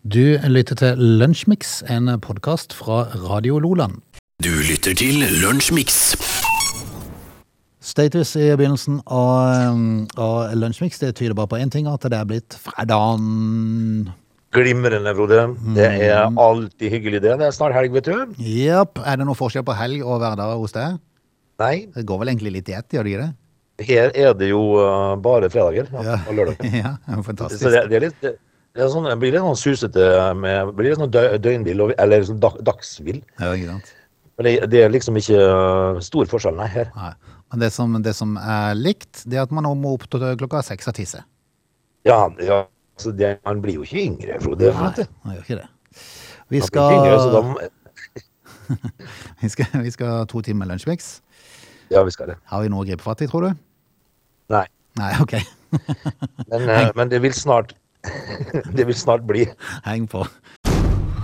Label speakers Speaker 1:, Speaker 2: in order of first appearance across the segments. Speaker 1: Du lytter til Lunsjmix, en podkast fra Radio Loland.
Speaker 2: Du lytter til Lunsjmix.
Speaker 1: Status i begynnelsen av, um, av Lunsjmix det tyder bare på én ting, at det er blitt fredagen.
Speaker 3: Glimrende, Frode. Det
Speaker 1: Mm.
Speaker 3: er alltid hyggelig, det. Det er snart helg, vet du.
Speaker 1: Jepp. Er det noen forskjell på helg og hverdag hos deg?
Speaker 3: Nei,
Speaker 1: Det går vel egentlig litt i ett, gjør det ikke det?
Speaker 3: her er det jo uh, bare fredager ja, og lørdager.
Speaker 1: ja,
Speaker 3: Så
Speaker 1: fantastisk.
Speaker 3: det, det er litt det, er sånn, det blir litt sånn susete med det blir litt sånn dø- døgnvill, og- eller sånn dag, dagsvill.
Speaker 1: Ja, ikke sant?
Speaker 3: Men det, det er liksom ikke uh, stor forskjell, nei, her.
Speaker 1: Nei. Men det som, det som er likt, det er at man nå må opp til klokka seks og tisse.
Speaker 3: Ja, ja så det, man blir jo ikke yngre, Frode.
Speaker 1: Nei,
Speaker 3: vet du.
Speaker 1: man gjør ikke det. Vi
Speaker 3: Man blir ikke yngre, så
Speaker 1: skal,
Speaker 3: da,
Speaker 1: vi skal, vi skal ha to timer Lunsjmix.
Speaker 3: ja, vi skal det.
Speaker 1: Har vi noe å gripe fatt i, tror du?
Speaker 3: Nei.
Speaker 1: Nei, OK.
Speaker 3: Men, uh, men det vil snart Det vil snart bli.
Speaker 1: Heng på.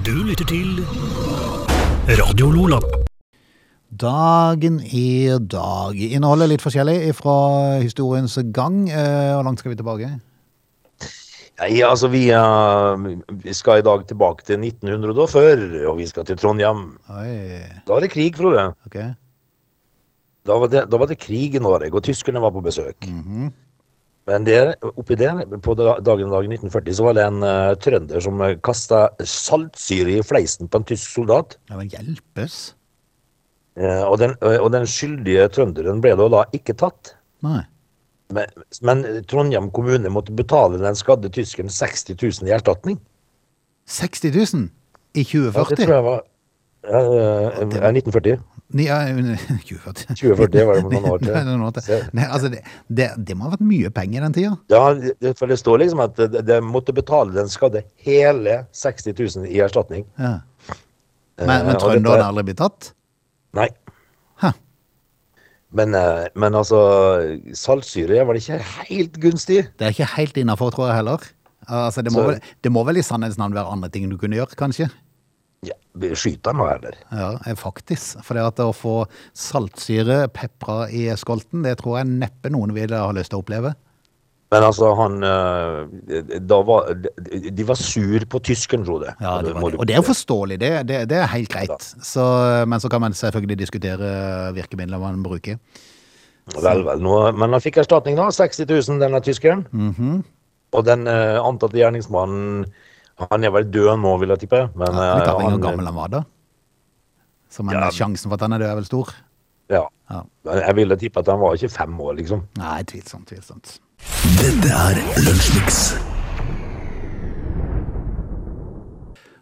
Speaker 2: Du lytter til Radio Lola.
Speaker 1: Dagen i dag. Innholdet er litt forskjellig fra historiens gang. Eh, Hvor langt skal vi tilbake?
Speaker 3: Nei, altså vi, eh, vi skal i dag tilbake til 1900 da, før, og vi skal til Trondheim.
Speaker 1: Oi,
Speaker 3: Da var det krig, Frode.
Speaker 1: ok.
Speaker 3: Da var det, da var det krig i Norge, og tyskerne var på besøk.
Speaker 1: Mhm.
Speaker 3: Men der, oppi der, på da- dagen i dag i 1940, så var det en eh, trønder som kasta saltsyre i fleisen på en tysk soldat.
Speaker 1: Ja, men hjelpes?
Speaker 3: Eh, og, den, og den skyldige trønderen ble da, da ikke tatt.
Speaker 1: Nei.
Speaker 3: Men, men Trondheim kommune måtte betale den skadde tyskeren 60 000 i erstatning. 60
Speaker 1: 60 000 i
Speaker 3: Ja, det
Speaker 1: 2040?
Speaker 3: tror jeg var eh, eh, 1940.
Speaker 1: Ni- ja, un- 2040.
Speaker 3: 2040 var det noen år til.
Speaker 1: Nei, noen år til.
Speaker 3: Se.
Speaker 1: Nei, altså, det, det, det må ha vært mye penger den tida.
Speaker 3: Ja, det- for det står liksom at de- de måtte betale den skadde hele 60 000 i erstatning.
Speaker 1: Ja. Men,
Speaker 3: Eh,
Speaker 1: men
Speaker 3: og dette-
Speaker 1: trønderen har aldri blitt tatt?
Speaker 3: Nei.
Speaker 1: Hæ.
Speaker 3: Men, eh, men altså, saltsyre var det ikke helt gunstig.
Speaker 1: Det er ikke helt innafor, tror jeg heller. Altså, det, må
Speaker 3: Så-
Speaker 1: vel, det må vel i sannhets navn være andre ting du kunne gjøre, kanskje?
Speaker 3: Ja, Skyt den nå, eller?
Speaker 1: Ja, eh, faktisk. For det at å få saltsyre pepra i skolten, det tror jeg neppe noen ville ha lyst til å oppleve.
Speaker 3: Men altså, han eh, da var, de- De var sur på tysken, Frode.
Speaker 1: Ja, det
Speaker 3: Må
Speaker 1: var,
Speaker 3: du-
Speaker 1: det. Og det er jo forståelig, det, det, det er helt greit. Så, men så kan man selvfølgelig diskutere virkemidler man bruker.
Speaker 3: Vel, vel. Nå, men han fikk erstatning, da. 60 000, denne tyskeren.
Speaker 1: Mhm.
Speaker 3: Og den eh, antatte gjerningsmannen Han er vel død nå, vil jeg tippe. Men
Speaker 1: Ja, vi
Speaker 3: eh,
Speaker 1: tar inn hvor
Speaker 3: han-
Speaker 1: gammel han var da. Så men
Speaker 3: Ja.
Speaker 1: sjansen for at han er død er vel stor?
Speaker 3: Ja.
Speaker 1: Ja.
Speaker 3: Men Jeg ville tippe at han var ikke fem år, liksom.
Speaker 1: Nei, tvilsomt, tvilsomt.
Speaker 2: Dette er Lunsjmix.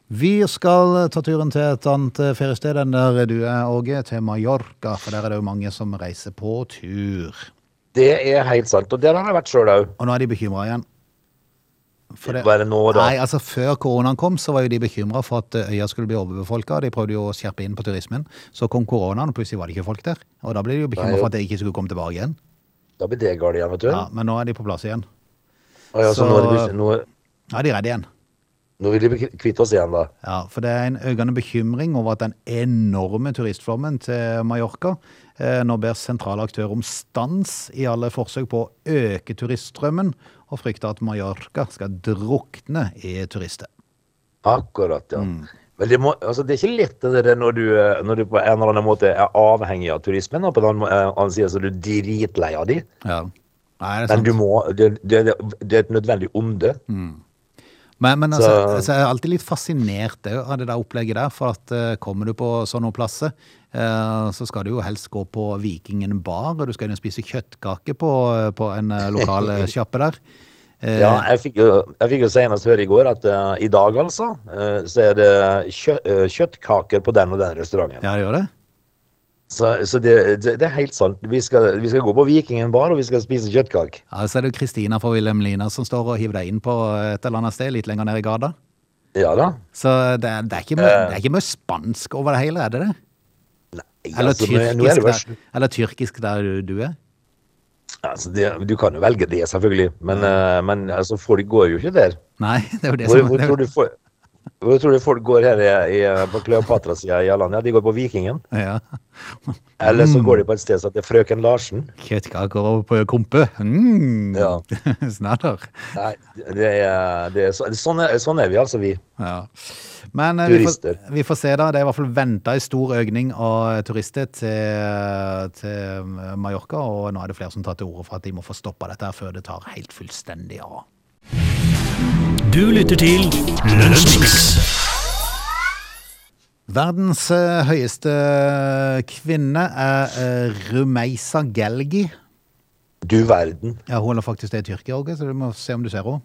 Speaker 1: Vi skal ta turen til et annet feriested enn der du er, Åge, til Mallorca. For der er det jo mange som reiser på tur.
Speaker 3: Det er helt sant, og der har jeg vært sjøl òg.
Speaker 1: Og nå er de bekymra igjen. For det-
Speaker 3: Bare nå, da.
Speaker 1: Nei, altså Før koronaen kom, så var jo de bekymra for at eh, øya skulle bli overbefolka. De prøvde jo å skjerpe inn på turismen. Så kom koronaen, og plutselig var det ikke folk der. Og da ble de jo bekymra
Speaker 3: Nei,
Speaker 1: for
Speaker 3: jo.
Speaker 1: at det ikke skulle komme tilbake igjen.
Speaker 3: Da blir det galt igjen, vet du.
Speaker 1: Ja, Men nå er de på plass igjen.
Speaker 3: Å ja, så
Speaker 1: så-
Speaker 3: nå, er det, bes- nå,
Speaker 1: Nå er de redde igjen.
Speaker 3: nå vil de bek- kvitte oss igjen, da.
Speaker 1: Ja, For det er en økende bekymring over at den enorme turistflommen til Mallorca eh, nå ber sentrale aktører om stans i alle forsøk på å øke turiststrømmen, og frykter at Mallorca skal drukne i turister.
Speaker 3: Akkurat, ja.
Speaker 1: Mm.
Speaker 3: Men det, må, altså, det er ikke lett det der når du, eh, når du på en eller annen måte er avhengig av turismen. Og på den må- eh, annen side så er du dritlei av de.
Speaker 1: Ja. Nei, det er sant.
Speaker 3: Men du må, det, det, det er et nødvendig onde.
Speaker 1: Men, men altså,
Speaker 3: Så-
Speaker 1: altså, jeg er alltid litt fascinert jeg, av det der opplegget der, for at eh, kommer du på sånne plasser, eh, så skal du jo helst gå på Vikingen bar, og du skal inn og spise kjøttkake på, på en eh, lokal eh, sjappe der. Eh,
Speaker 3: Ja, jeg fikk, jo, jeg fikk jo senest høre i går at eh, i dag, altså, eh, så er det kjø, eh, kjøttkaker på den og den restauranten.
Speaker 1: Ja, det gjør det?
Speaker 3: Så, så det, det, det er helt sant. Vi skal, vi skal gå på Vikingen bar, og vi skal spise kjøttkake.
Speaker 1: Ja, så er det jo Kristina fra Wilhelm Lina som står og hiver deg inn på et eller annet sted litt lenger ned i gata.
Speaker 3: Ja da.
Speaker 1: Så det er, det, er ikke mye,
Speaker 3: Eh.
Speaker 1: det er ikke mye spansk over det hele, er det det? Eller,
Speaker 3: altså, nå- nå er det
Speaker 1: tyrkisk,
Speaker 3: vers-
Speaker 1: der, eller tyrkisk der du, du er?
Speaker 3: altså, det, du kan jo velge det, selvfølgelig, men, eh, men altså, folk går jo ikke der.
Speaker 1: Nei, det er jo det
Speaker 3: Hvor,
Speaker 1: som
Speaker 3: hvor tror du folk Og Jeg tror du folk går her i, i, på Kleopatra-sida i Alanya. De går på Vikingen.
Speaker 1: Ja.
Speaker 3: Eller så går de på et sted som heter Frøken Larsen.
Speaker 1: Kjøttkaker og på kompe. Mm.
Speaker 3: Ja.
Speaker 1: Snadder.
Speaker 3: Nei, det er, det er, så- sånn, er, sånn er vi altså, vi.
Speaker 1: Ja. Men eh, vi får,
Speaker 3: Turister.
Speaker 1: vi får se, da. Det er i hvert fall venta en stor økning av turister til, til Mallorca, og nå er det flere som tar til orde for at de må få stoppa dette her før det tar helt fullstendig av.
Speaker 2: Du lytter til Lunsjmix.
Speaker 1: Verdens eh, høyeste eh, kvinne er eh, Rumeisa Gelgi.
Speaker 3: Du verden.
Speaker 1: Ja, hun holder faktisk til i Tyrkia, Åge, så du må se om du ser henne.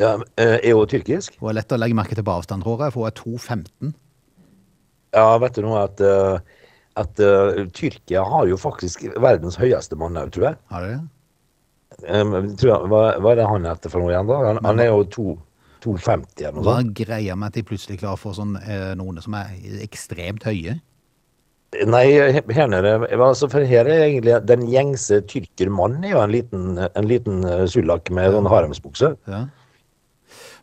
Speaker 3: Ja, eh, er hun tyrkisk?
Speaker 1: Hun er lett å legge merke til på avstand, tror jeg, for hun er 2,15.
Speaker 3: Ja, vet du noe at, eh, at eh, Tyrkia har jo faktisk verdens høyeste mann òg, tror jeg.
Speaker 1: Har du det?
Speaker 3: Um, tror jeg hva, hva er det han heter for noe igjen, da? Han, han er jo to- 2,50 eller noe
Speaker 1: Hva
Speaker 3: sånt.
Speaker 1: er greia med at de plutselig klarer å få sånn, eh, noen som er ekstremt høye?
Speaker 3: Nei, he- her nede altså, For her er egentlig den gjengse tyrkermannen er jo en liten, en liten eh, sullak med sånn haremsbukse.
Speaker 1: Ja.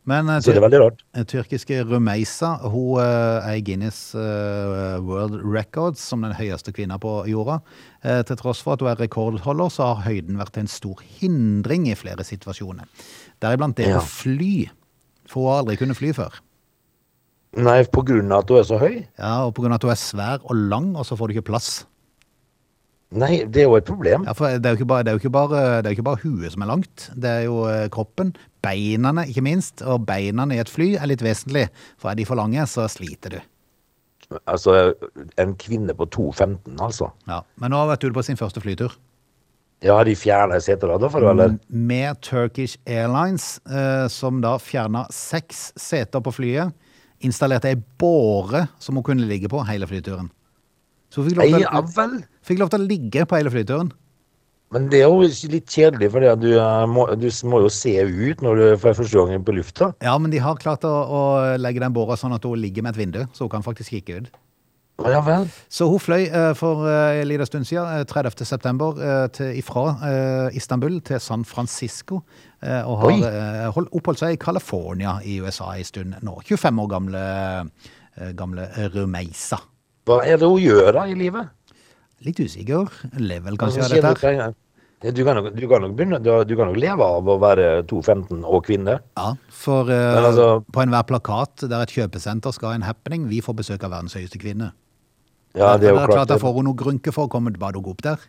Speaker 1: Men eh,
Speaker 3: Så det er veldig rart.
Speaker 1: Den tyrkiske Rumeisa hun eh, er i Guinness eh, World Records som den høyeste kvinna på jorda. Eh, til tross for at hun er rekordholder, så har høyden vært en stor hindring i flere situasjoner. Deriblant det
Speaker 3: Ja.
Speaker 1: å fly. For hun har aldri kunnet fly før.
Speaker 3: Nei, på grunn av at hun er så høy?
Speaker 1: Ja, og Pga. at hun er svær og lang, og så får du ikke plass.
Speaker 3: Nei, det er jo et problem.
Speaker 1: Ja, for Det er jo ikke bare, det er jo ikke bare, det er jo ikke bare huet som er langt, det er jo eh, kroppen. Beinene, ikke minst. Og beina i et fly er litt vesentlig, for er de for lange, så sliter du.
Speaker 3: Altså, en kvinne på 2,15, altså.
Speaker 1: Ja, Men nå har hun vært ute på sin første flytur.
Speaker 3: Ja, de fjerner seterader for henne,
Speaker 1: Mm.
Speaker 3: eller?
Speaker 1: med Turkish Airlines, eh, som da fjerna seks seter på flyet. Installerte ei båre som hun kunne ligge på hele flyturen. Så hun fikk lov til,
Speaker 3: Ja
Speaker 1: å-
Speaker 3: vel.
Speaker 1: fikk lov til å ligge på hele flyturen.
Speaker 3: Men det er jo litt kjedelig, for du, eh, må, du må jo se ut når du for første gangen på lufta.
Speaker 1: Ja, men de har klart å, å legge den båra sånn at hun ligger med et vindu, så hun kan faktisk kikke ut.
Speaker 3: Ja vel.
Speaker 1: Så hun fløy eh, for eh, en liten stund siden, eh, 30. september, eh, til, ifra eh, Istanbul til San Francisco. eh, og har
Speaker 3: Oi.
Speaker 1: eh, holdt, oppholdt seg i California i USA en stund nå. 25 år gamle, eh, gamle Rumeisa.
Speaker 3: Hva er det hun gjør da i livet?
Speaker 1: Litt usikker. Level,
Speaker 3: Altså,
Speaker 1: kanskje, av
Speaker 3: kjedelig
Speaker 1: dette her.
Speaker 3: trening. Ja, Du kan, nok, du, kan nok begynne, du, du kan nok leve av å være 2,15 og kvinne.
Speaker 1: Ja, for eh,
Speaker 3: Men altså-
Speaker 1: på enhver plakat der et kjøpesenter skal ha en happening, vi får besøk av verdens høyeste kvinne.
Speaker 3: Ja, det er jo
Speaker 1: Men
Speaker 3: klart.
Speaker 1: Da
Speaker 3: det.
Speaker 1: får hun noe grunke for å komme bare å gå opp der.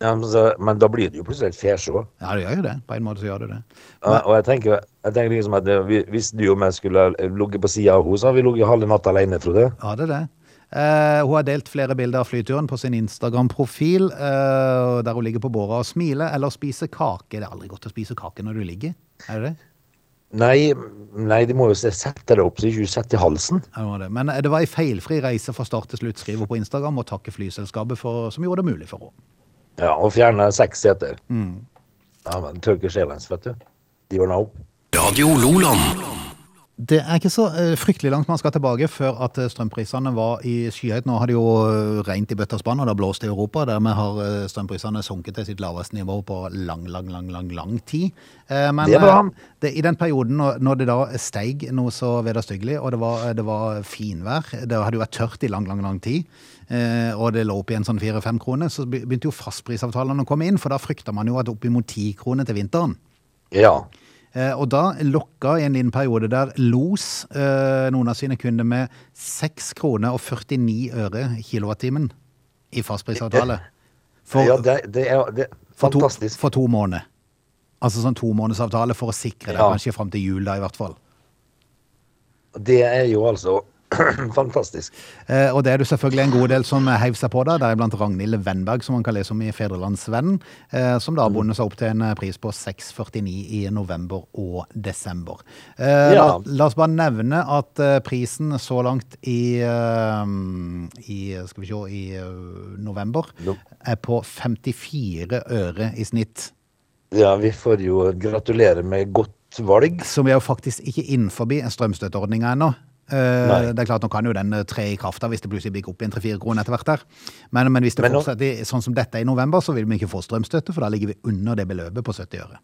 Speaker 3: Ja, men, så, men da blir det jo plutselig et fesjå.
Speaker 1: Ja, det gjør jo det. På en måte så gjør det det.
Speaker 3: Ja, og jeg tenker, jeg tenker liksom at det, vi- hvis du og jeg skulle eh, ligget på sida av henne, så hadde vi ligget halve natta alene, Frode.
Speaker 1: Ja, det er det. Eh, hun har delt flere bilder av flyturen på sin Instagram-profil, eh, der hun ligger på båra og smiler, eller spiser kake. Det er aldri godt å spise kake når du ligger, er det det?
Speaker 3: Nei, nei, de må jo se- sette det opp, så ikke du setter i halsen.
Speaker 1: Ja, det var det. Men eh, det var ei feilfri reise fra start til slutt, skriver hun på Instagram, og takker flyselskapet for, som gjorde det mulig for henne.
Speaker 3: Ja, og fjerne seks seter.
Speaker 1: Mm.
Speaker 3: Ja, men Turkish Airlines, vet du. De ordna opp.
Speaker 2: Radio Loland.
Speaker 1: Det er ikke så eh, fryktelig langt man skal tilbake før at eh, strømprisene var i skyhøyt. Nå har det jo eh, regnet i bøtta spann, og det har blåst i Europa. Dermed har eh, strømprisene sunket til sitt laveste nivå på lang, lang, lang lang, lang tid. Eh, Men
Speaker 3: Det er bra.
Speaker 1: eh, det, i den perioden når, når det da steig noe så vederstyggelig, og det var, eh, det var finvær, det hadde jo vært tørt i lang, lang, lang tid, eh, og det lå opp i en sånn fire-fem kroner, så be- begynte jo fastprisavtalene å komme inn, for da frykta man jo at oppimot ti kroner til vinteren.
Speaker 3: Ja.
Speaker 1: Eh, Og da lokka i en liten periode der Los eh, noen av sine kunder med 6 kroner og 49 øre kilowattimen i fastprisavtale. For,
Speaker 3: ja det, det er det,
Speaker 1: for, to,
Speaker 3: fantastisk.
Speaker 1: for to måneder. Altså sånn tomånedersavtale for å sikre deg
Speaker 3: Ja.
Speaker 1: kanskje fram til jul, da i hvert fall.
Speaker 3: Det er jo altså fantastisk.
Speaker 1: Eh, Og det er det selvfølgelig en god del som heiv seg på da, deriblant Ragnhild Vennberg, som man kan lese om i Fedrelandsvennen, eh, som da har bundet seg opp til en eh, pris på 6,49 i november og desember. Eh,
Speaker 3: Ja.
Speaker 1: la, la oss bare nevne at eh, prisen så langt i, eh, i skal vi se, i eh, november
Speaker 3: Jo.
Speaker 1: er på 54 øre i snitt.
Speaker 3: Ja, vi får jo gratulere med godt valg.
Speaker 1: Som er jo faktisk ikke innenfor strømstøtteordninga ennå. Eh,
Speaker 3: Nei.
Speaker 1: det er klart, Nå kan jo den eh, tre i kraft da, hvis det plutselig blir opp igjen tre-fire kroner etter hvert. der. Men, men hvis det
Speaker 3: Men nå-
Speaker 1: fortsetter i- sånn som dette i november, så vil vi ikke få strømstøtte, for da ligger vi under det beløpet på 70 øre.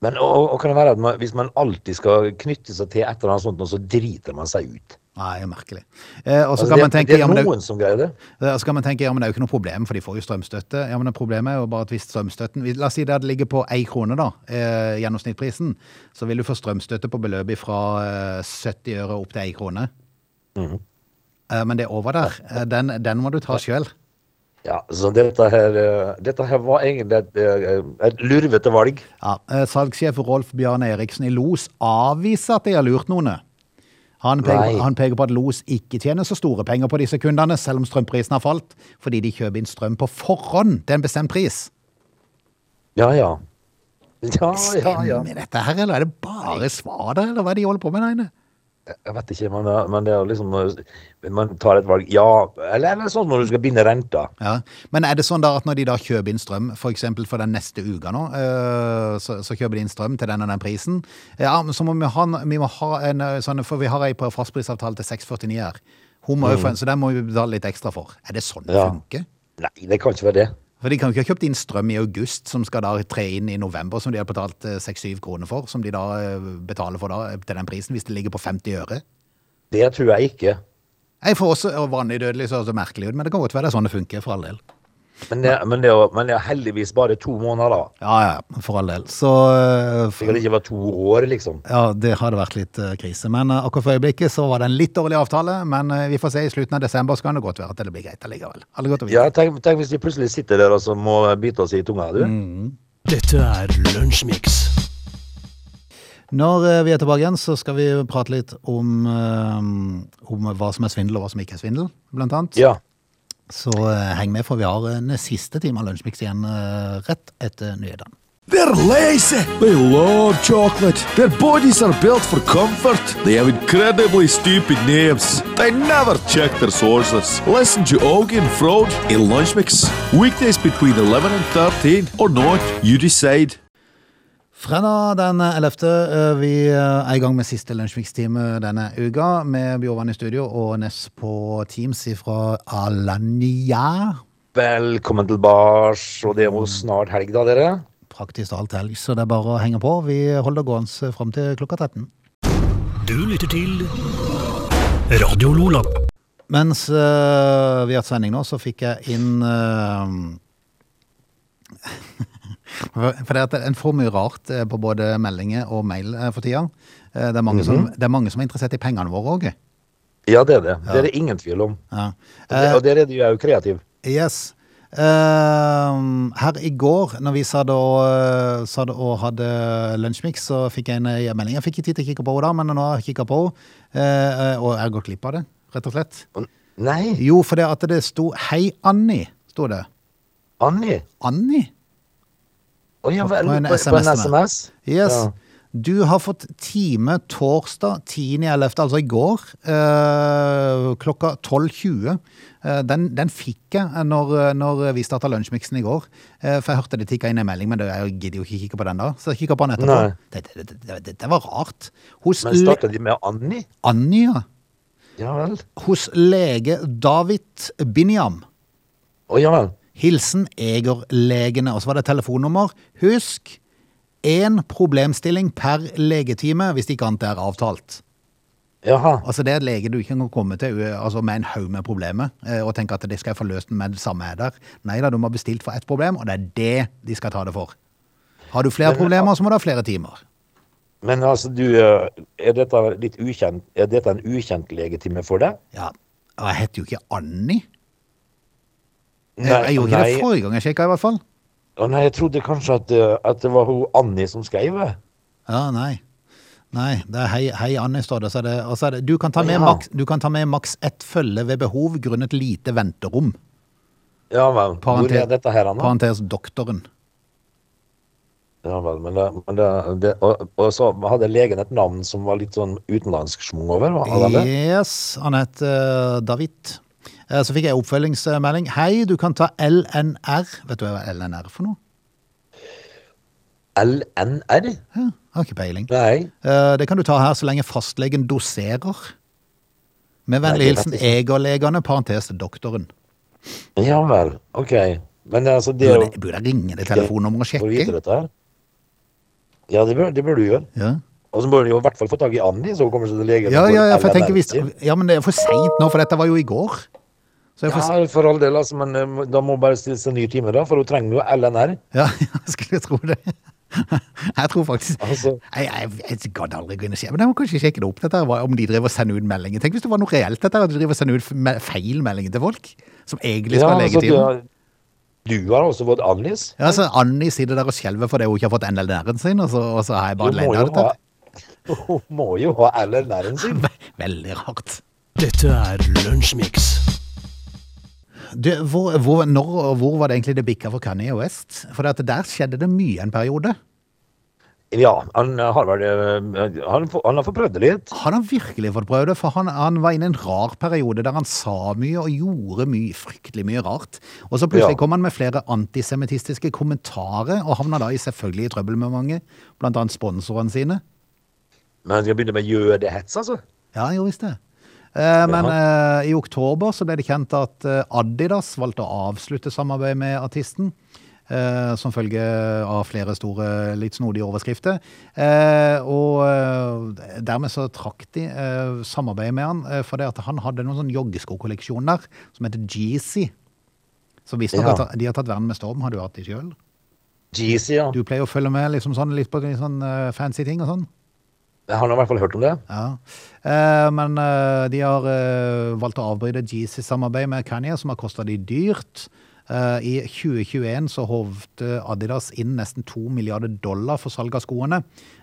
Speaker 3: Men og, og kan det være at man, hvis man alltid skal knytte seg til et eller annet sånt, noe, så driter man seg ut.
Speaker 1: Nei, merkelig. Eh, og så
Speaker 3: Altså,
Speaker 1: kan man
Speaker 3: det,
Speaker 1: tenke
Speaker 3: det
Speaker 1: ja,
Speaker 3: er
Speaker 1: men det,
Speaker 3: noen som greier det.
Speaker 1: eh, så kan man tenke, ja, men det er jo ikke noe problem, for de får jo strømstøtte. Ja, men det Problemet er jo bare at hvis strømstøtten vi- La oss si det ligger på én krone, da, eh, gjennomsnittprisen, så vil du få strømstøtte på beløpet fra eh, 70 øre opp til én krone. Eh, men det er over der. Eh, den, den må du ta sjøl.
Speaker 3: Ja, så dette her, eh, dette her var egentlig et, eh, et lurvete valg.
Speaker 1: Ja. eh, Salgssjef Rolf Bjarne Eriksen i Los avviser at de har lurt noen. Han peker,
Speaker 3: Nei.
Speaker 1: han peker på at Los ikke tjener så store penger på disse kundene, selv om strømprisen har falt, fordi de kjøper inn strøm på forhånd til en bestemt pris.
Speaker 3: Ja, ja. Ja, ja, ja.
Speaker 1: Stemmer dette her, eller er det bare svader, eller hva er det de holder på med der inne?
Speaker 3: Jeg vet ikke, men, eh, men det er jo liksom eh, Man tar et valg. Ja, eller, eller sånn når du skal binde renta.
Speaker 1: Ja. Men er det sånn da at når de da kjøper inn strøm, for eksempel for den neste uka nå, eh, så, så kjøper de inn strøm til den og den prisen, Eh, ja, men så må vi ha, en- vi må ha en eh, sånn, for vi har ei på fastprisavtale til 6,49 her, Hun må jo få en, Mm. så den må vi betale litt ekstra for. Er det sånn det
Speaker 3: Ja.
Speaker 1: funker?
Speaker 3: Nei, det kan ikke være det.
Speaker 1: For de kan jo ikke ha kjøpt inn strøm i august, som skal da tre inn i november, som de har betalt eh, 6-7 kroner for, som de da eh, betaler for da, eh, til den prisen, hvis det ligger på 50 øre.
Speaker 3: Det tror jeg ikke.
Speaker 1: Jeg får også og vanlig dødelig så høres det merkelig ut, men det kan godt være det er sånn det funker, for all del.
Speaker 3: Men det, men det, er, jo- men det er heldigvis bare to måneder, da.
Speaker 1: Ja, ja, for all del. Så eh,
Speaker 3: Det kan
Speaker 1: for,
Speaker 3: ikke være to år, liksom.
Speaker 1: ja, det hadde vært litt eh, krise. Men eh, akkurat for øyeblikket så var det en litt dårlig avtale, men eh, vi får se. I slutten av desember så kan det godt være at det blir greit allikevel. Alle godt å vite.
Speaker 3: Ja, tenk, tenk hvis vi plutselig sitter der og så må bite oss i tunga, du.
Speaker 1: Mm.
Speaker 2: Dette er Lunsjmix.
Speaker 1: Når eh, vi er tilbake igjen, så skal vi prate litt om, eh, om hva som er svindel, og hva som ikke er svindel, blant annet.
Speaker 3: Ja.
Speaker 1: Så eh, heng med, for vi har en siste time av Lunsjmix igjen eh, rett etter nyhetene.
Speaker 4: They're lazy. They love chocolate. Their bodies are built for comfort. They have incredibly stupid names. They never check their sources. Listen to Augie and Frode in Lunch Mix. Weekdays between 11 and 13 or not, you decide.
Speaker 1: Fredag den 11. eh, Vi eh, er i gang med siste lunsjmikstime denne uka, med Bjørvann i studio og Ness på Teams fra Alanya.
Speaker 3: Velkommen til bars, og det er jo snart helg, da, dere.
Speaker 1: Praktisk alt helg, så det er bare å henge på. Vi holder gående fram til klokka 13.
Speaker 2: Du lytter til Radio Lola.
Speaker 1: Mens eh, vi har hatt sending nå, så fikk jeg inn eh, For for det at en får mye rart eh, på både meldinger og mail eh, for tida. Eh, Det er, mange
Speaker 3: Mhm.
Speaker 1: som, det er mange som er interessert i pengene våre eh. òg.
Speaker 3: Ja, det er det. Det er det ingen tvil om.
Speaker 1: Ja.
Speaker 3: Og det- Og der er du jo kreativ.
Speaker 1: Yes. Ehm, her i går, når vi satt og, eh, satt og hadde lunsjmix, så fikk jeg en eh, melding. Jeg fikk ikke tid til å kikke på henne, da, men nå har jeg kikka på henne. eh, eh, og jeg har gått glipp av det, rett og slett.
Speaker 3: Og- Nei,
Speaker 1: Jo, for det at det sto 'Hei, Anni', sto det.
Speaker 3: Anni.
Speaker 1: Anni?
Speaker 3: Å ja vel.
Speaker 1: På en
Speaker 3: På, på en
Speaker 1: SMS,
Speaker 3: SMS?
Speaker 1: Yes.
Speaker 3: Ja.
Speaker 1: Du har fått time torsdag 10.11., altså i går, eh, klokka 12.20. Eh, den, den fikk jeg eh, når, når vi starta lunsjmiksen i går. Eh, for jeg hørte det tikka inn en melding, men det, jeg gidder jo ikke kikke på den da. Så jeg kikka på den etterpå.
Speaker 3: Nei.
Speaker 1: Det, det, det, det, det var rart. Hos,
Speaker 3: Men
Speaker 1: le
Speaker 3: starta de med Anni?
Speaker 1: Anja,
Speaker 3: Ja vel.
Speaker 1: hos lege David Binyam.
Speaker 3: Å ja vel.
Speaker 1: Hilsen Egerlegene. Og så var det telefonnummer. Husk én problemstilling per legetime, hvis ikke annet er avtalt.
Speaker 3: Jaha.
Speaker 1: Altså Det er en lege du ikke kan komme til eh, altså med en haug med problemer eh, og tenke at det skal jeg få løst med det samme jeg er der. Nei da, de har bestilt for ett problem, og det er det de skal ta det for. Har du flere
Speaker 3: Men-
Speaker 1: problemer, så må du ha flere timer.
Speaker 3: Men altså, du eh, Er dette litt ukjent Er dette en ukjent legetime for deg?
Speaker 1: Ja, og Jeg heter jo ikke Anni. Jeg, jeg gjorde ikke det forrige gang jeg sjekka, i hvert fall.
Speaker 3: Å nei, jeg trodde kanskje at, eh, at det var hun Anni som skrev det.
Speaker 1: Ja, nei. Nei, det er hei, hei Anne står det, så er det, og så er det du, kan ta med
Speaker 3: Ja.
Speaker 1: maks, du kan ta med maks ett følge ved behov grunnet lite venterom.
Speaker 3: Ja vel. Hvor
Speaker 1: Parentes-
Speaker 3: er dette her, Anna?
Speaker 1: Parentes doktoren.
Speaker 3: Ja vel, men det, men det, det og, og så hadde legen et navn som var litt sånn utenlandsk schwung over? hva Hadde han det?
Speaker 1: Yes, han het eh, David. Eh, Så fikk jeg oppfølgingsmelding. Hei, du kan ta LNR. Vet du hva LNR er for noe?
Speaker 3: LNR?
Speaker 1: Ja, jeg har ikke peiling.
Speaker 3: Nei.
Speaker 1: Eh, Det kan du ta her så lenge fastlegen doserer. Med
Speaker 3: Nei,
Speaker 1: vennlig
Speaker 3: det vet
Speaker 1: hilsen
Speaker 3: jeg
Speaker 1: Egerlegene, parentes doktoren.
Speaker 3: Ja vel, OK. Men altså, det er jo
Speaker 1: Burde burde jeg ringe det telefonnummeret og
Speaker 3: Får du vite
Speaker 1: sjekke?
Speaker 3: dette her? Ja, det bør, det bør du gjøre.
Speaker 1: Ja.
Speaker 3: Og så bør du jo i hvert fall få tak i Anni, så hun kommer seg til legen.
Speaker 1: Ja,
Speaker 3: og får
Speaker 1: ja, ja, for jeg tenker hvis,
Speaker 3: LMRT.
Speaker 1: ja, men det er for seint nå, for dette var jo i går. Så jeg får,
Speaker 3: Ja, for all del, altså, men eh, da må hun bare stille seg en ny time, da, for hun trenger jo LNR.
Speaker 1: ja, jeg skulle tro det. Jeg tror faktisk
Speaker 3: Altså-
Speaker 1: Jeg, jeg, jeg gadd aldri gå inn og se, men jeg må kanskje sjekke det opp, dette, her, hva- om de driver og sender ut meldinger. Tenk hvis det var noe reelt, dette, her, at de driver og sender ut me- feil meldinger til folk, som egentlig skal ha
Speaker 3: altså, du,
Speaker 1: legetiden.
Speaker 3: har- du har også fått Annis.
Speaker 1: Ja, så Anni sitter der og skjelver fordi hun ikke har fått NLD-en sin, og så, og så har jeg bare
Speaker 3: Hun må
Speaker 1: ledd
Speaker 3: jo
Speaker 1: av dette.
Speaker 3: ha- Hun må jo ha LNR-en sin.
Speaker 1: Ve- Veldig rart.
Speaker 2: Dette er Lunsjmix.
Speaker 1: Du, hvor, hvor, når og hvor var det egentlig det bikka for Kanye West? For at der skjedde det mye en periode.
Speaker 3: Ja, han har vel eh, Han, får- han har fått prøvd det litt.
Speaker 1: Han har virkelig fått prøvd det, for han, han var inne i en rar periode der han sa mye og gjorde mye, fryktelig mye rart. Og så plutselig
Speaker 3: Ja.
Speaker 1: kom han med flere antisemittistiske kommentarer, og havna da i selvfølgelig i trøbbel med mange, blant annet sponsorene sine.
Speaker 3: Men han skal begynne med jødehets, altså.
Speaker 1: Ja, jo visst det. Eh, men eh, i oktober så ble det kjent at eh, Adidas valgte å avslutte samarbeidet med artisten. eh, som følge av flere store, litt snodige overskrifter. Eh, og eh, dermed så trakk de eh, samarbeidet med han, eh, fordi at han hadde noen sånn joggeskokolleksjon der, som heter Jeezy. Så visstnok
Speaker 3: Ja.
Speaker 1: at de har tatt verden med storm, har du hatt de sjøl?
Speaker 3: Jeezy, ja.
Speaker 1: Du pleier å følge med liksom sånn, litt på litt sånn eh, fancy ting og sånn?
Speaker 3: Han har i hvert fall hørt om det.
Speaker 1: Ja. Eh, men eh, de har eh, valgt å avbryte Yeezy-samarbeid med Kanye, som har kosta de dyrt. Eh, I 2021 så hovte Adidas inn nesten 2 milliarder dollar for salg av skoene.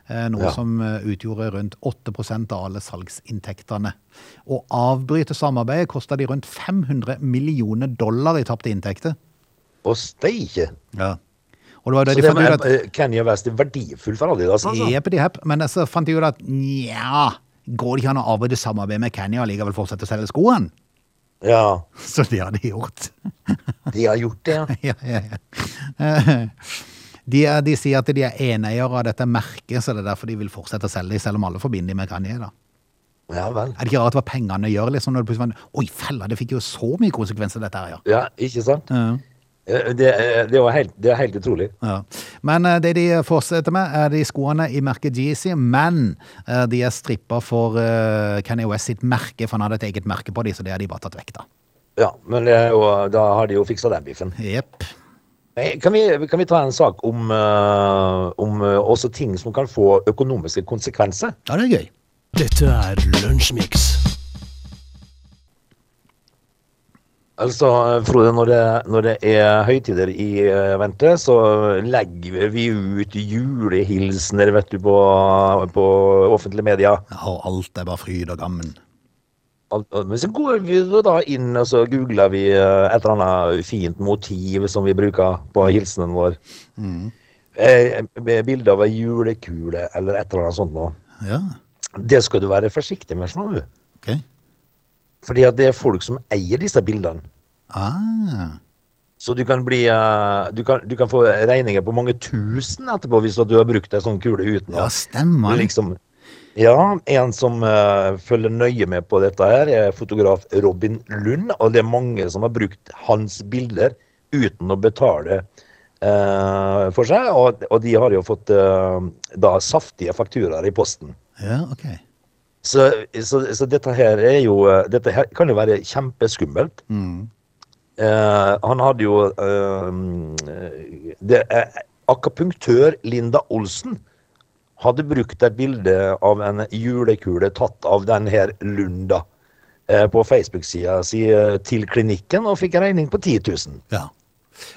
Speaker 1: eh, noe
Speaker 3: Ja.
Speaker 1: som eh, utgjorde rundt 8 av alle salgsinntektene. Å avbryte samarbeidet kosta de rundt 500 millioner dollar i tapte inntekter.
Speaker 3: Og steike!
Speaker 1: Og det var
Speaker 3: Så
Speaker 1: da de
Speaker 3: det
Speaker 1: fant ut
Speaker 3: med
Speaker 1: at
Speaker 3: eh, Kanye West er verdifull for Adidas, altså.
Speaker 1: Jeppidi-hepp. Men så fant jeg ut at nja, går det ikke an å avbryte samarbeidet med Kanye og likevel fortsette å selge skoene?
Speaker 3: Ja.
Speaker 1: Så det har de gjort.
Speaker 3: De har gjort det, ja.
Speaker 1: ja, ja, ja. Eh, De, er, de sier at de er eneiere av dette merket, så det er derfor de vil fortsette å selge, selv om alle forbinder de med Kanye. da.
Speaker 3: Ja vel.
Speaker 1: Er det ikke rart hva pengene gjør? liksom, når det plutselig var, Oi, fella, det fikk jo så mye konsekvenser, dette her, ja.
Speaker 3: Ja, ikke sant?
Speaker 1: Ja.
Speaker 3: Eh, Det, eh, det, er jo helt, det er helt utrolig.
Speaker 1: Ja. Men eh, det de fortsetter med, er de skoene i merket Yeezy, men eh, de er strippa for eh, Kanye West sitt merke, for han hadde et eget merke på de, så det har de bare tatt vekk, da.
Speaker 3: Ja, men det er jo- da har de jo fiksa den biffen.
Speaker 1: Jepp.
Speaker 3: Eh, Kan vi, kan vi ta en sak om, eh, om eh, også ting som kan få økonomiske konsekvenser?
Speaker 1: Ja, det er gøy.
Speaker 2: Dette er Lunsjmix.
Speaker 3: Altså, Frode, når det, når det er høytider i eh, vente, så legger vi ut julehilsener vet du, på, på offentlige medier.
Speaker 1: Ja, og alt er bare fryd og gammen.
Speaker 3: Alt- og- Men så går vi jo da inn og så googler vi eh, et eller annet fint motiv som vi bruker på hilsenen vår. Eh, med Bilde av ei julekule eller et eller annet sånt noe.
Speaker 1: Ja,
Speaker 3: Det skal du være forsiktig med, sånn, du.
Speaker 1: ok.
Speaker 3: fordi at det er folk som eier disse bildene.
Speaker 1: Ah,
Speaker 3: Så du kan, bli, eh, du, kan, du kan få regninger på mange tusen etterpå hvis at du har brukt ei sånn kule uten
Speaker 1: ja, stemmer. det.
Speaker 3: liksom, Ja, en som eh, følger nøye med på dette her, er fotograf Robin Lund. Og det er mange som har brukt hans bilder uten å betale eh, for seg. Og, og de har jo fått eh, da saftige fakturaer i posten.
Speaker 1: Ja, ok.
Speaker 3: Så, så, så dette her er jo eh, Dette her kan jo være kjempeskummelt.
Speaker 1: Mm.
Speaker 3: Eh, han hadde jo eh, det, eh, Akapunktør Linda Olsen hadde brukt et bilde av en julekule tatt av den her Lunda eh, på Facebook-sida si eh, til klinikken, og fikk en regning på 10 000.
Speaker 1: Ja.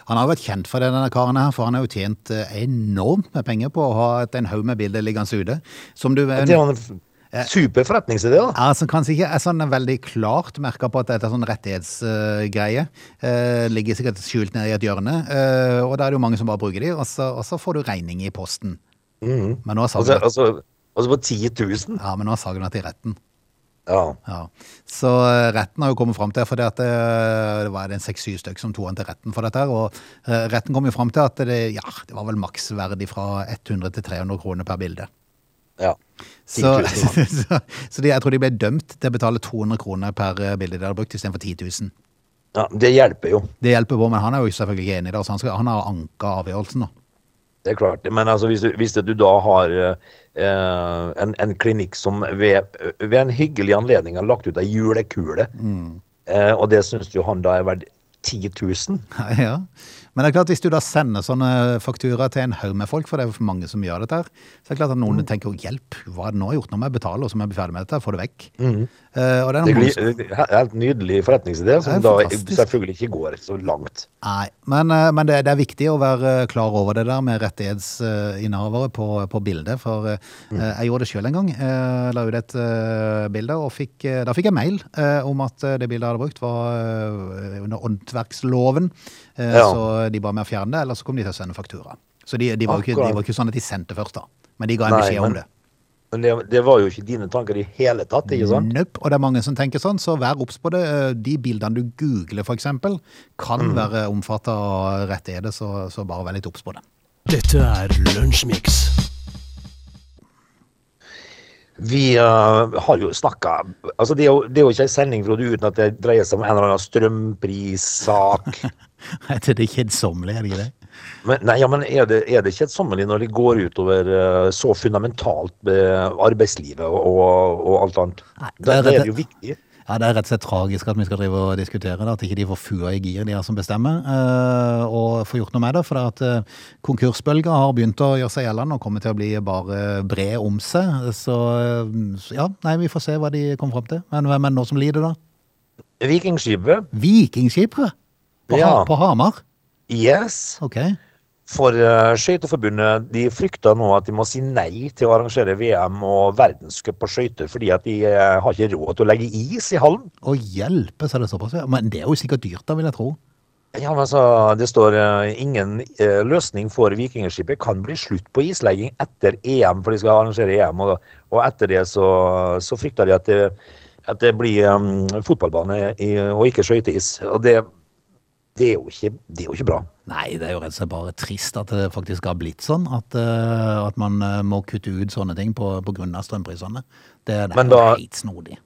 Speaker 1: Han har jo vært kjent for det, denne karen her, for han har jo tjent eh, enormt med penger på å ha et, en haug med bilder liggende ute. Som du
Speaker 3: Det er jo en
Speaker 1: Eh.
Speaker 3: f- super forretningsidé, da.
Speaker 1: Altså, kanskje ikke er sånn veldig klart merka på at dette er sånn rettighetsgreie. Eh, ligger sikkert skjult nede i et hjørne, eh, og da er det jo mange som bare bruker de, og så, og så får du regning i posten. Men nå har
Speaker 3: Altså,
Speaker 1: saken vært-
Speaker 3: altså, altså på 10 000.
Speaker 1: ja, men nå har saken vært i retten.
Speaker 3: Ja.
Speaker 1: Ja. Så eh, retten har jo kommet fram til fordi at eh, det var en seks-syv stykk som tok han til retten for dette. her, Og eh, retten kom jo fram til at det, ja, det var vel maksverdig fra 100 til 300 kroner per bilde.
Speaker 3: ja.
Speaker 1: Så,
Speaker 3: 10 000,
Speaker 1: så, så de, jeg tror de ble dømt til å betale 200 kroner per eh, bilde de hadde brukt, istedenfor 10 000.
Speaker 3: ja. Det hjelper jo.
Speaker 1: Det hjelper på, men han er jo selvfølgelig ikke enig i det. Så han, skal, han har anka avgjørelsen nå.
Speaker 3: Det er klart. Men altså, hvis, du- hvis du da har eh, en, en klinikk som ved, ved en hyggelig anledning har lagt ut ei julekule, eh, og det syns jo han da er verdt 10 000
Speaker 1: Ja. Men det er klart, hvis du da sender sånne fakturaer til en haug med folk, for det er for mange som gjør dette her, så er det klart at
Speaker 3: Mm.
Speaker 1: noen tenker 'hjelp, hva er det nå jeg har gjort? Nå må jeg betale, og så må jeg bli ferdig med dette, få det vekk'. Eh, og det er
Speaker 3: Mm. Det
Speaker 1: noen
Speaker 3: blir eh, helt nydelig forretningsidé, som da
Speaker 1: fantastisk.
Speaker 3: selvfølgelig ikke går så langt.
Speaker 1: Nei, men, eh, men det, det er viktig å være eh, klar over det der med rettighetsinnehavere på, på bildet. For eh,
Speaker 3: Mm.
Speaker 1: jeg gjorde det sjøl en gang. Eh, la ut et eh, bilde, og fikk, eh, da fikk jeg mail eh, om at eh, det bildet jeg hadde brukt, var eh, under åndsverksloven. Eh,
Speaker 3: Ja.
Speaker 1: Så de ba meg å fjerne det, eller så kom de til å sende faktura. Så de, de, var jo ikke,
Speaker 3: Akkurat.
Speaker 1: de var jo ikke sånn at de sendte først, da. Men de ga en
Speaker 3: Nei,
Speaker 1: beskjed
Speaker 3: men-
Speaker 1: om det.
Speaker 3: Men det, det var jo ikke dine tanker i hele tatt, ikke sant?
Speaker 1: Nope. Og det er mange som tenker sånn, så vær obs på det. Eh, De bildene du googler, f.eks., kan være omfatta av rettigheter, så, så bare vær litt obs på det.
Speaker 2: Dette er Lunsjmix.
Speaker 3: Vi eh, har jo snakka altså det, er jo- det er jo ikke ei sending Frode, uten at det dreier seg om en eller annen strømprissak.
Speaker 1: Heter det kjedsommelige, er det ikke det?
Speaker 3: Men, nei, ja, men er det, er det kjedsommelig når det går utover eh, så fundamentalt med arbeidslivet og, og, og alt annet?
Speaker 1: Nei, det
Speaker 3: Da
Speaker 1: er
Speaker 3: da er
Speaker 1: rett-
Speaker 3: det jo viktig.
Speaker 1: Ja, Det er rett og slett tragisk at vi skal drive og diskutere det, at ikke de får fua i gir, de her som bestemmer, eh, og får gjort noe med det. For det at eh, konkursbølga har begynt å gjøre seg gjeldende og kommer til å bli bare bred om seg. Så eh, så ja, nei, vi får se hva de kommer fram til. Men hvem er det nå som lider, da?
Speaker 3: Vikingskipet,
Speaker 1: Vikingskipere? På,
Speaker 3: Ja.
Speaker 1: ha på Hamar?
Speaker 3: yes.
Speaker 1: Ok.
Speaker 3: For eh, Skøyteforbundet de frykter nå at de må si nei til å arrangere VM og verdenscup på skøyter fordi at de eh, har ikke råd til å legge is i hallen.
Speaker 1: Å hjelpe, så er det såpass. ja. Men det er jo sikkert dyrt, da, vil jeg tro.
Speaker 3: Ja, men altså, Det står eh, ingen eh, løsning for Vikingskipet. Kan bli slutt på islegging etter EM, for de skal arrangere EM. Og, og etter det så, så frykter de at det, at det blir eh, fotballbane i, og ikke skøyteis. Og det, det, er jo ikke, det er jo ikke bra.
Speaker 1: Nei, det er jo rett og slett bare trist at det faktisk har blitt sånn. At, eh, at man eh, må kutte ut sånne ting på, på grunn av strømprisene. Det, det
Speaker 3: Men
Speaker 1: er
Speaker 3: da-
Speaker 1: jo helt snodig.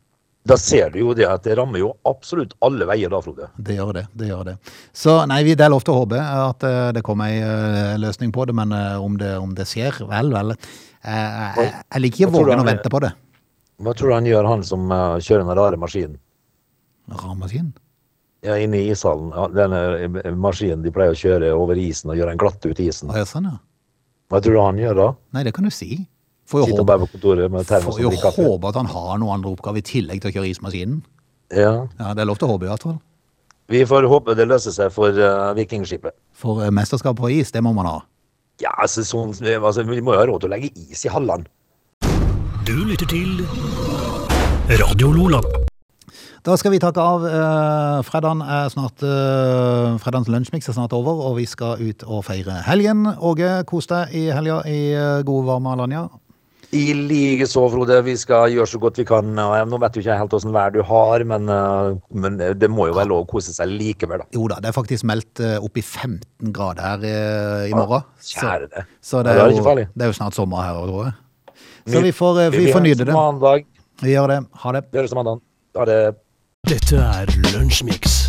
Speaker 3: Da ser du jo det at det rammer jo absolutt alle veier da, Frode.
Speaker 1: Det gjør det. det gjør det. Så nei, vi- det er lov til å håpe at eh, det kommer ei eh, løsning på det, men eh, om det, om det skjer, vel, vel. Eh, jeg, jeg liker
Speaker 3: Hva
Speaker 1: ikke
Speaker 3: tror du
Speaker 1: vågen å
Speaker 3: han er?
Speaker 1: vente på det.
Speaker 3: Hva tror du han gjør, han som eh, kjører den rare maskinen?
Speaker 1: Rammaskin?
Speaker 3: Ja, inne i ishallen. Ja, Denne eh, maskinen de pleier å kjøre over isen og gjøre en glatt ut i isen.
Speaker 1: Å, ja, sånn, ja.
Speaker 3: Hva tror du han gjør da?
Speaker 1: Nei, det kan du si. Får jo
Speaker 3: Sitter
Speaker 1: håpe,
Speaker 3: bare på kontoret med termos
Speaker 1: får
Speaker 3: og sånn,
Speaker 1: jo
Speaker 3: drikker kaffe.
Speaker 1: håpe at han har noen andre oppgaver i tillegg til å kjøre ismaskinen.
Speaker 3: Ja.
Speaker 1: Ja, Det er lov til å håpe, i hvert fall.
Speaker 3: Vi får håpe det løser seg for eh, Vikingskipet.
Speaker 1: For eh, mesterskap på is, det må man ha.
Speaker 3: Ja, altså, sånn, eh, altså, Vi må jo ha råd til å legge is i hallene.
Speaker 2: Du lytter til Radio Lola.
Speaker 1: Da skal vi takke av. Eh, Fredagen er snart eh, Fredagens lunsjmix er snart over, og vi skal ut og feire helgen. Åge, kos deg i helga i eh, gode, varme Alanya.
Speaker 3: I likeså, Frode. Vi skal gjøre så godt vi kan. og jeg- Nå vet jo ikke jeg helt åssen vær du har, men, eh, men det må jo være lov å kose seg likevel, da.
Speaker 1: Jo da, det er faktisk meldt eh, opp i 15 grader her eh, i morgen.
Speaker 3: Kjære det.
Speaker 1: så
Speaker 3: Ja,
Speaker 1: det
Speaker 3: det er
Speaker 1: er,
Speaker 3: ikke
Speaker 1: jo,
Speaker 3: farlig.
Speaker 1: det er jo snart sommer her òg, tror jeg. Så vi får, eh, vi får
Speaker 3: høres
Speaker 1: nyte det.
Speaker 3: Mandag.
Speaker 1: Vi gjør det. Ha det.
Speaker 3: Vi høres mandag. Ha det.
Speaker 2: Dette er Lunsjmix.